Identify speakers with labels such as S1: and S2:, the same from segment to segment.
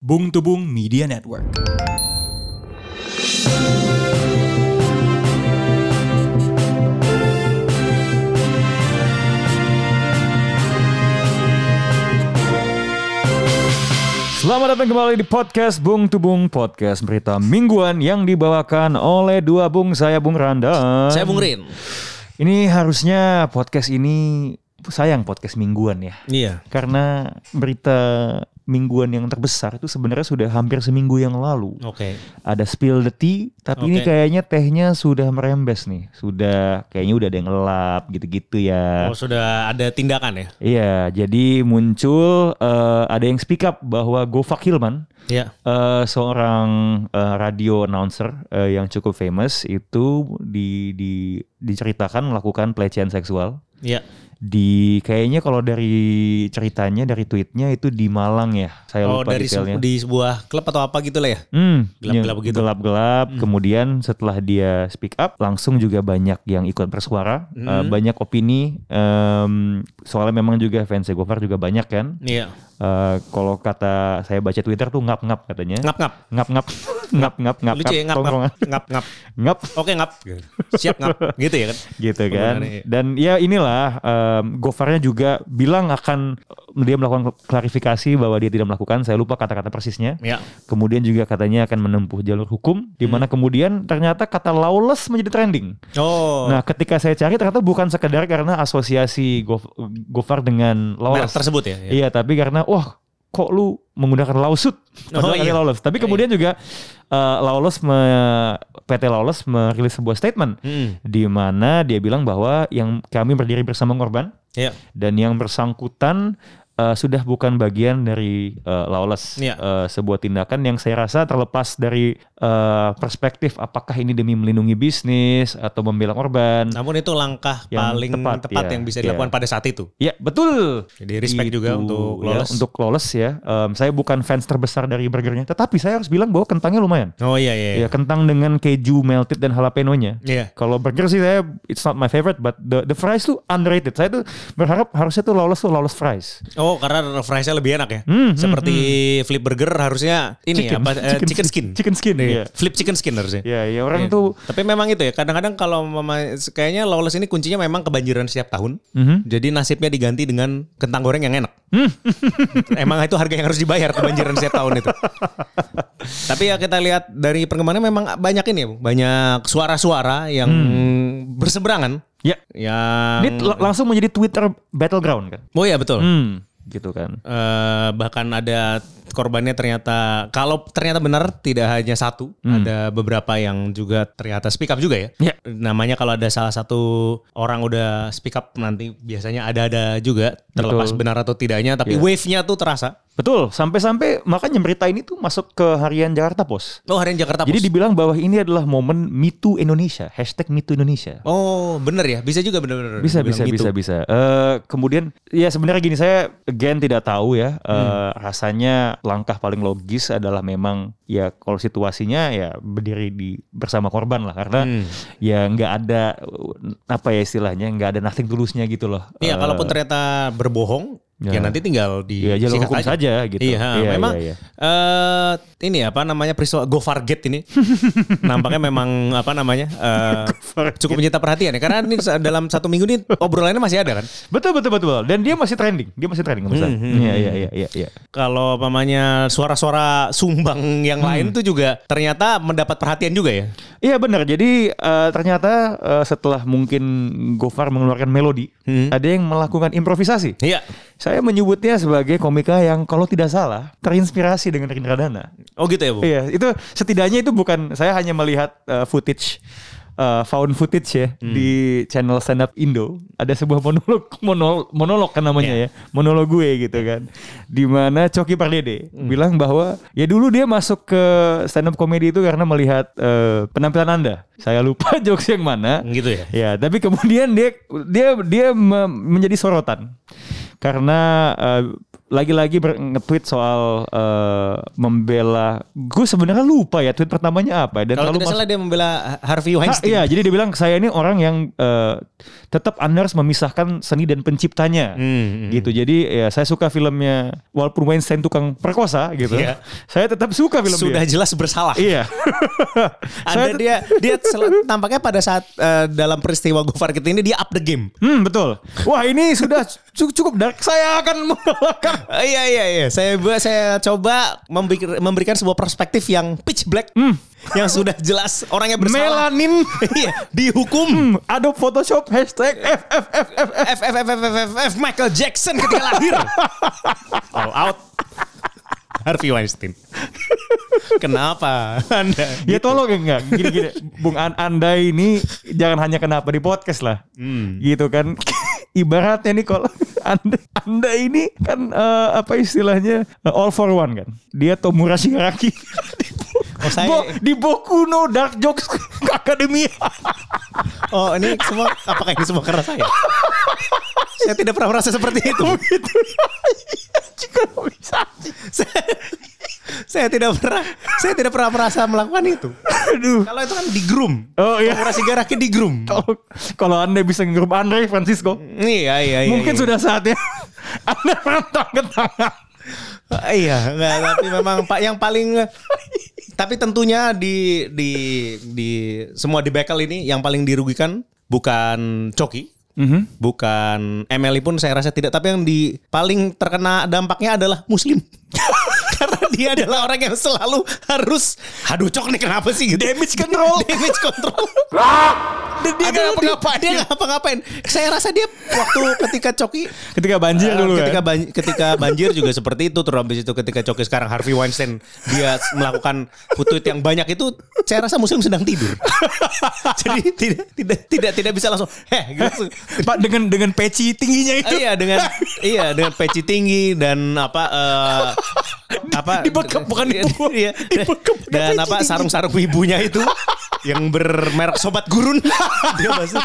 S1: Bung Tubung Media Network.
S2: Selamat datang kembali di podcast Bung Tubung Podcast berita mingguan yang dibawakan oleh dua bung saya Bung Randa.
S3: Saya Bung Rin.
S2: Ini harusnya podcast ini sayang podcast mingguan ya.
S3: Iya.
S2: Karena berita mingguan yang terbesar itu sebenarnya sudah hampir seminggu yang lalu.
S3: Oke.
S2: Ada spill the tea, tapi ini
S3: Oke.
S2: kayaknya tehnya sudah merembes nih. Sudah kayaknya udah ada yang lelap gitu-gitu ya.
S3: Oh sudah ada tindakan ya?
S2: Iya, jadi muncul eh, ada yang speak up bahwa Gofak Hilman
S3: Iya.
S2: Eh, seorang eh, radio announcer eh, yang cukup famous itu di, di diceritakan melakukan pelecehan seksual
S3: Iya.
S2: di kayaknya kalau dari ceritanya dari tweetnya itu di Malang ya saya
S3: Oh
S2: lupa
S3: dari se-
S2: detailnya
S3: di sebuah klub atau apa gitu lah ya?
S2: Hmm,
S3: Gelap-gelap
S2: ya,
S3: gitu.
S2: gelap-gelap. Kemudian setelah dia speak up, langsung juga banyak yang ikut bersuara,
S3: Hmm.
S2: eh, banyak opini. em, soalnya memang juga fans Gofar juga banyak kan.
S3: Iya.
S2: Eh, kalau kata saya baca Twitter tuh ngap-ngap katanya
S3: Ngap ngap.
S2: ngap ngap ngap ngap ngap
S3: Lucu ya ngap
S2: tongkrongan.
S3: ngap. Ngap ngap.
S2: ngap
S3: Oke ngap. Siap ngap. Gitu ya kan?
S2: gitu kan
S3: Penggunaannya, iya.
S2: dan ya inilah em, Gofarnya juga bilang akan eh, dia melakukan klarifikasi bahwa dia tidak melakukan saya lupa kata-kata persisnya
S3: Iya.
S2: kemudian juga katanya akan menempuh jalur hukum di
S3: Hmm.
S2: mana kemudian ternyata kata lawless menjadi trending
S3: Oh.
S2: nah ketika saya cari ternyata bukan sekedar karena asosiasi Gof- Gofar dengan
S3: merek
S2: lawless
S3: tersebut ya? Iya.
S2: Iya, tapi karena wah kok lu menggunakan lawsuit padahal
S3: Oh, iya.
S2: kalian lolos. Tapi
S3: Iya.
S2: kemudian juga eh, Lawless me- PT Lawless merilis sebuah statement
S3: Mm-mm.
S2: di mana dia bilang bahwa yang kami berdiri bersama korban
S3: Iya.
S2: dan yang bersangkutan eh, sudah bukan bagian dari eh, Lawless
S3: Iya.
S2: Eh, sebuah tindakan yang saya rasa terlepas dari eh, perspektif apakah ini demi melindungi bisnis atau membela korban.
S3: Namun itu langkah
S2: Yang
S3: paling
S2: tepat,
S3: tepat,
S2: iya,
S3: yang bisa
S2: iya.
S3: dilakukan pada saat itu.
S2: Ya betul.
S3: Jadi respect juga
S2: Gitu,
S3: untuk
S2: ya,
S3: lolos.
S2: untuk lolos ya. Em, saya bukan fans terbesar dari burgernya, tetapi saya harus bilang bahwa kentangnya lumayan.
S3: Oh iya iya.
S2: Ya kentang dengan keju melted dan jalapeno-nya.
S3: Iya.
S2: Kalau burger sih saya it's not my favorite, but the the fries tuh underrated. Saya tuh berharap harusnya tuh lolos tuh lolos fries.
S3: Oh karena fries-nya lebih enak ya.
S2: Hmm, hmm,
S3: Seperti flip burger harusnya ini
S2: Chicken.
S3: apa eh,
S2: Chicken
S3: chicken,
S2: skin.
S3: skin.
S2: Chicken skin, iya.
S3: Flip chicken skin harusnya.
S2: Ya, ya orang
S3: Iya.
S2: tuh
S3: Tapi memang itu ya. Kadang-kadang kalau mama kayaknya lawless ini kuncinya memang kebanjiran setiap tahun.
S2: Mhm.
S3: Jadi nasibnya diganti dengan kentang goreng yang enak. emang itu harga yang harus dibayar kebanjiran setiap tahun itu. Tapi ya kita lihat dari perkembangannya memang banyak ini ya, Bu. banyak suara-suara yang berseberangan.
S2: ya
S3: Yang
S2: ini la- langsung menjadi Twitter battleground kan.
S3: Oh iya betul.
S2: Hmm, gitu kan.
S3: Eh, bahkan ada korbannya ternyata kalau ternyata benar tidak hanya satu, ada beberapa yang juga ternyata speak up juga ya.
S2: Hmm. Ya.
S3: Namanya kalau ada salah satu orang udah speak up nanti biasanya ada-ada juga terlepas
S2: Betul. Ya.
S3: benar atau tidaknya tapi wave-nya tuh terasa.
S2: Betul, sampai-sampai makanya berita ini tuh masuk ke harian Jakarta Post.
S3: Oh, harian Jakarta Post.
S2: Jadi dibilang bahwa ini adalah momen Me Too Indonesia, hashtag Me Too Indonesia.
S3: oh, bener ya. Bisa juga bener-bener.
S2: bisa
S3: bilang
S2: bisa
S3: gitu.
S2: bisa bisa Eh, kemudian ya sebenarnya gini saya again tidak tahu ya Eh,
S3: Hmm.
S2: rasanya langkah paling logis adalah memang ya kalau situasinya ya berdiri di bersama korban lah karena
S3: Hmm.
S2: ya nggak ada eh, apa ya istilahnya nggak ada nothing tulusnya gitu loh Eh,
S3: Iya, kalaupun ternyata berbohong, ya,
S2: Ya.
S3: nanti tinggal di
S2: ya jalur hukum saja gitu
S3: Iya, memang
S2: iya, iya.
S3: eh, ini apa namanya peristiwa Gofar Gate ini nampaknya memang apa namanya eh, cukup menyita perhatian ya karena ini sa- dalam satu minggu ini obrolannya masih ada kan.
S2: betul betul betul betul. dan dia masih trending dia masih trending
S3: Hmm,
S2: besar iya iya iya iya iya.
S3: Kalau namanya suara-suara sumbang yang
S2: Hmm.
S3: lain tuh juga ternyata mendapat perhatian juga ya.
S2: Iya benar. Jadi eh, ternyata eh, setelah mungkin Gofar mengeluarkan melodi,
S3: Hmm.
S2: ada yang melakukan improvisasi.
S3: Iya.
S2: Saya menyebutnya sebagai komika yang kalau tidak salah terinspirasi dengan Rindra Dana.
S3: Oh gitu ya, Bu.
S2: Iya, itu setidaknya itu bukan saya hanya melihat eh, footage eh, found footage ya di channel stand up Indo ada sebuah monolog monolog, monolog kan namanya ya monolog gue gitu kan dimana Coki Pardede bilang bahwa ya dulu dia masuk ke stand up comedy itu karena melihat eh, penampilan anda saya lupa jokes yang mana
S3: Gitu ya.
S2: Ya, tapi kemudian dia dia dia me- menjadi sorotan karena eh, lagi-lagi ber- nge-tweet soal eh, membela. Gue sebenarnya lupa ya tweet pertamanya apa. Dan
S3: Kalau
S2: lalu
S3: tidak salah dia membela Harvey
S2: Ha,
S3: Weinstein.
S2: iya, jadi dia bilang saya ini orang yang eh, tetap Anda harus memisahkan seni dan penciptanya.
S3: Hmm, hmm.
S2: Gitu. Jadi ya saya suka filmnya walaupun Weinstein tukang perkosa gitu.
S3: Iya.
S2: Saya tetap suka film
S3: Sudah
S2: dia.
S3: jelas bersalah.
S2: Iya.
S3: Anda dia dia sel- tampaknya pada saat eh, dalam peristiwa Gofar Kit ini dia up the game.
S2: Hmm, betul. Wah, ini sudah cu- cukup dark. Saya akan mengalahkan
S3: Eh, iya iya iya. Saya bu- saya coba membik- memberikan sebuah perspektif yang pitch black yang sudah jelas orangnya bersalah.
S2: melanin.
S3: Iya,
S2: Hmm,
S3: dihukum.
S2: Adobe Photoshop hashtag FFF.
S3: F F F F F F F Michael Jackson ketika lahir. All out. Harvey Weinstein. Kenapa Anda?
S2: Ya tolong ya enggak. Gini-gini. Bung An Anda ini jangan hanya kenapa di podcast lah. Gitu kan. Ibaratnya nih kalau Anda, Anda ini kan eh, apa istilahnya eh, all for one kan. Dia Tomura Shigaraki.
S3: Oh, saya-
S2: Bo- di Boku no Dark Jokes Academia.
S3: Oh ini semua apakah ini semua karena saya? saya tidak pernah merasa seperti itu.
S2: Begitu. Jika bisa.
S3: saya, saya tidak pernah saya tidak pernah merasa melakukan itu.
S2: Aduh.
S3: Kalau itu kan di groom.
S2: Oh iya.
S3: Murasi garaki di groom.
S2: Kalau kalau Anda bisa ngerum Andre Francisco,
S3: Iya iya iya.
S2: mungkin
S3: iya.
S2: sudah saatnya Anda merantang ke tangan.
S3: Iya, enggak, tapi memang Pak yang paling tapi tentunya di di di semua debacle ini yang paling dirugikan bukan Coki,
S2: Mhm.
S3: bukan MLI pun saya rasa tidak, tapi yang di paling terkena dampaknya adalah muslim. Karena dia adalah orang yang selalu harus aduh cok nih kenapa sih gitu.
S2: Damage control.
S3: Damage control.
S2: Dan dia
S3: dia
S2: kan
S3: ngapa ngapain? Dia ngapa ngapain? Saya rasa dia waktu ketika Coki
S2: ketika banjir
S3: Eh,
S2: dulu
S3: ketika
S2: kan.
S3: ban- ketika banjir juga seperti itu terus habis itu ketika coki sekarang Harvey Weinstein dia s- melakukan putut yang banyak itu saya rasa muslim sedang tidur jadi tidak tidak tidak tidak bisa langsung heh gitu.
S2: Pak dengan dengan peci tingginya itu.
S3: Eh, iya dengan iya dengan peci tinggi dan apa eh, apa
S2: dibekap, bukan dipukul.
S3: iya,
S2: Dibekap pakai
S3: dan
S2: peci
S3: apa
S2: tinggi.
S3: sarung-sarung ibunya itu yang bermerek sobat gurun dia masuk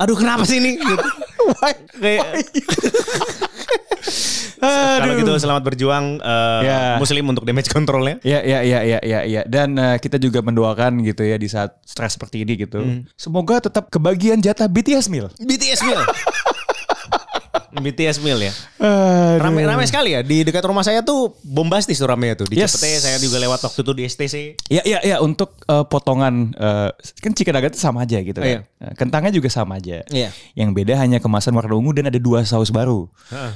S3: aduh kenapa sih ini gitu. kayak Kalau gitu selamat berjuang eh,
S2: Ya.
S3: Muslim untuk damage controlnya.
S2: Ya, ya, ya, ya, ya, ya. Dan eh, kita juga mendoakan gitu ya di saat stres seperti ini gitu.
S3: Hmm.
S2: Semoga tetap kebagian jatah BTS meal.
S3: BTS meal. BTS meal ya.
S2: Aduh.
S3: Rame-rame sekali ya di dekat rumah saya tuh bombastis tuh ramenya tuh. Di
S2: Yes.
S3: Cipete saya juga lewat waktu itu di STC.
S2: Ya, ya, ya. Untuk eh, potongan eh, kan chicken nugget itu sama aja gitu. Kan?
S3: Iya.
S2: Eh, Kentangnya juga sama aja.
S3: Iya.
S2: Yang beda hanya kemasan warna ungu dan ada dua saus baru,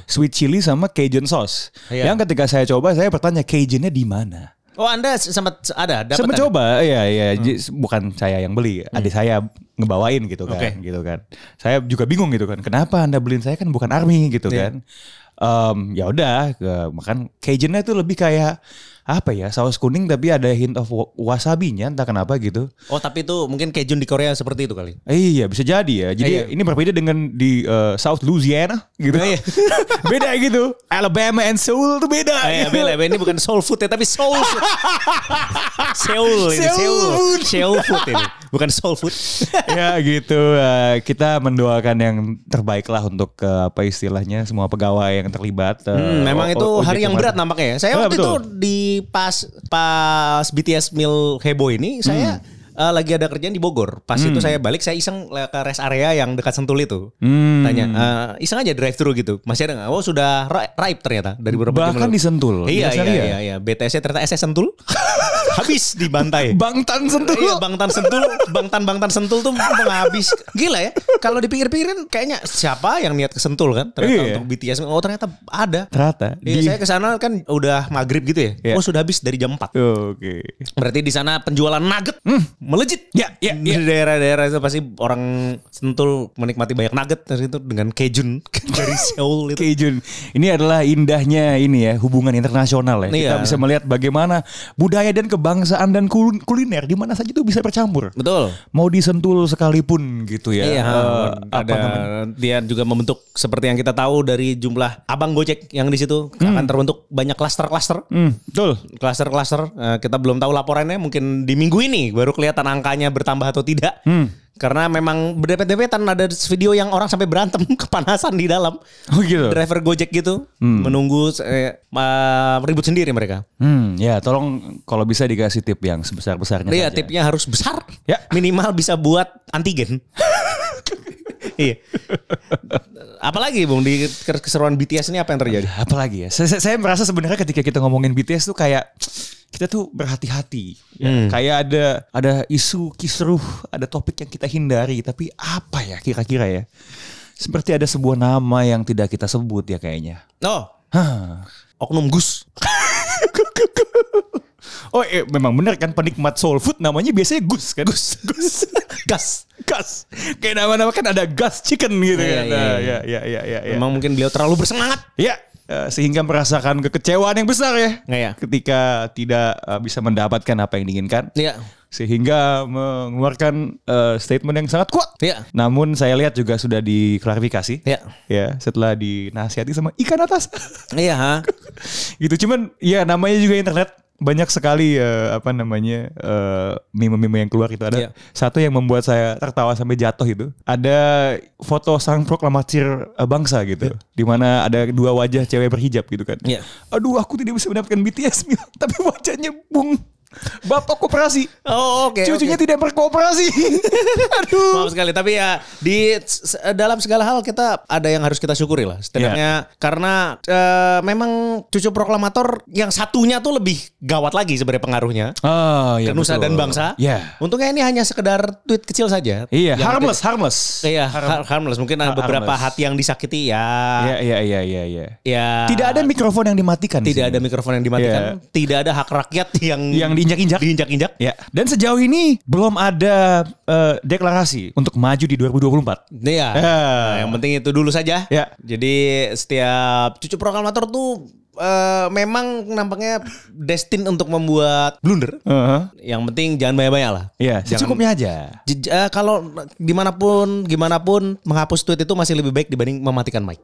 S2: sweet chili sama Cajun sauce.
S3: Iya.
S2: Yang ketika saya coba saya bertanya Cajunnya di mana?
S3: Oh Anda s- sempat ada Hmm. dapat
S2: Saya
S3: ada?
S2: mencoba, iya iya, J- bukan saya yang beli, adik saya ngebawain gitu kan,
S3: Oke.
S2: gitu kan. Saya juga bingung gitu kan, kenapa anda beliin saya kan bukan army gitu kan.
S3: Iya.
S2: Em, ya udah, ke- makan Cajunnya tuh lebih kayak apa ya, saus kuning tapi ada hint of wa- wasabinya entah kenapa gitu.
S3: Oh tapi itu mungkin kejun di Korea seperti itu kali.
S2: Eh, Iya bisa jadi ya. Jadi
S3: Iya.
S2: ini berbeda dengan di eh, South Louisiana gitu.
S3: Iya.
S2: beda gitu. Alabama and Seoul tuh beda.
S3: Eh,
S2: gitu.
S3: bela, bela. ini bukan soul food ya, tapi soul food. Seoul ini,
S2: Seoul
S3: Seoul.
S2: food.
S3: Seoul food ini. Bukan soul food.
S2: ya gitu eh, kita mendoakan yang terbaik lah untuk eh, apa istilahnya semua pegawai yang terlibat eh,
S3: Hmm, memang
S2: o-
S3: itu
S2: o- ojek
S3: hari yang
S2: kemarin.
S3: berat nampaknya ya. Saya
S2: Ah,
S3: waktu
S2: betul.
S3: itu di pas pas BTS meal heboh ini
S2: Hmm.
S3: saya eh, lagi ada kerjaan di Bogor. Pas itu saya balik saya iseng le- ke rest area yang dekat Sentul itu.
S2: Hmm.
S3: Tanya, eh, iseng aja drive thru gitu. Masih ada nggak? Oh sudah ra- raib ternyata dari beberapa jam
S2: bahkan
S3: lalu.
S2: disentul
S3: Iya,
S2: biasa
S3: iya,
S2: dia.
S3: iya, iya. BTS-nya ternyata SS Sentul. Habis dibantai.
S2: bangtan sentul
S3: Iya, Bangtan Sentul, Bangtan-Bangtan Sentul tuh menghabis. Gila ya. Kalau dipikir-pikirin kayaknya siapa yang niat ke Sentul kan? Ternyata
S2: Iya.
S3: untuk BTS. Oh, ternyata ada.
S2: ternyata
S3: Iya,
S2: di-
S3: saya ke sana kan udah maghrib gitu ya.
S2: Iya.
S3: Oh, sudah habis dari jam 4.
S2: Oh, oke
S3: Berarti di sana penjualan nugget melejit.
S2: Ya, ya, ya.
S3: Di daerah-daerah itu pasti orang Sentul menikmati banyak nugget dari itu dengan kejun dari Seoul itu.
S2: Oke Jun, ini adalah indahnya ini ya hubungan internasional ya. Kita
S3: Iya.
S2: bisa melihat bagaimana budaya dan kebangsaan dan kul- kuliner di mana saja itu bisa bercampur.
S3: Betul.
S2: Mau disentul sekalipun gitu ya.
S3: Iya,
S2: Eh, apa
S3: ada
S2: namanya?
S3: dia juga membentuk seperti yang kita tahu dari jumlah abang gojek yang di situ akan terbentuk banyak klaster-klaster.
S2: Hmm, betul. Hmm.
S3: Klaster-klaster eh, kita belum tahu laporannya mungkin di minggu ini baru kelihatan angkanya bertambah atau tidak. Karena memang berdepet-depetan ada video yang orang sampai berantem kepanasan di dalam.
S4: Oh gitu.
S3: Driver Gojek gitu menunggu eh, eh, ribut sendiri mereka.
S2: Hmm, ya tolong kalau bisa dikasih tip yang sebesar besarnya.
S3: Iya, tipnya harus besar.
S4: Ya.
S3: Minimal bisa buat antigen. iya. Apalagi Bung di keseruan BTS ini apa yang terjadi?
S2: Apalagi ya, saya, saya- saya merasa sebenarnya ketika kita ngomongin BTS tuh kayak kita tuh berhati-hati, ya. kayak ada ada isu kisruh, ada topik yang kita hindari, tapi apa ya kira-kira ya? Seperti ada sebuah nama yang tidak kita sebut ya kayaknya.
S3: Oh,
S2: Hah.
S3: Oknum Gus.
S2: Oh, eh, memang benar kan penikmat soul food namanya biasanya Gus kan? Gus, Gus,
S3: Gas.
S2: Gas. Kayak nama-nama kan ada Gas Chicken gitu
S3: Iya,
S2: kan?
S3: iya,
S2: Nah,
S3: iya.
S2: Ya, ya, ya, ya, ya.
S3: Memang mungkin beliau terlalu bersemangat.
S2: Ya, eh, sehingga merasakan kekecewaan yang besar ya.
S3: Iya.
S2: Ketika tidak eh, bisa mendapatkan apa yang diinginkan.
S3: Iya.
S2: Sehingga mengeluarkan eh, statement yang sangat kuat.
S3: Iya.
S2: Namun saya lihat juga sudah diklarifikasi.
S3: Iya.
S2: Ya, setelah dinasihati sama ikan atas.
S3: Iya, ha.
S2: gitu. Cuman ya namanya juga internet banyak sekali eh, apa namanya eh, meme-meme yang keluar itu ada
S3: Iya.
S2: satu yang membuat saya tertawa sampai jatuh itu ada foto sang proklamatir eh, bangsa gitu di mana ada dua wajah cewek berhijab gitu kan
S3: Iya.
S2: aduh aku tidak bisa mendapatkan BTS Mil. tapi wajahnya bung bapak koperasi
S3: Oh, oke.
S2: cucunya
S3: oke.
S2: tidak berkooperasi aduh
S3: Maaf sekali, tapi ya di s- dalam segala hal kita ada yang harus kita syukuri lah. Setidaknya karena eh, memang cucu proklamator yang satunya tuh lebih gawat lagi sebenarnya pengaruhnya.
S2: ah,
S3: ke nusa dan bangsa.
S2: ya
S3: Untungnya ini hanya sekedar tweet kecil saja.
S2: iya
S3: Yang-
S2: harmless harmless
S3: Iya, har- harmless. Mungkin ada beberapa
S2: harmless.
S3: hati yang disakiti
S2: iya
S3: ya.
S2: iya iya iya iya.
S3: Ya.
S2: tidak ada mikrofon yang dimatikan di sini.
S3: tidak ada mikrofon yang dimatikan. Tidak ada hak rakyat yang
S2: yang diinjak-injak.
S3: diinjak-injak.
S2: Ya, dan sejauh ini belum ada eh, deklarasi untuk maju di 2024. Ya.
S3: Iya. Nah, yang penting itu dulu saja.
S2: Ya.
S3: Jadi setiap cucu proklamator tuh eh, memang nampaknya destin untuk membuat blunder. Yang penting jangan banyak-banyak lah.
S2: Ya, secukupnya aja.
S3: J- eh, kalau dimanapun, gimana pun menghapus tweet itu masih lebih baik dibanding mematikan mic.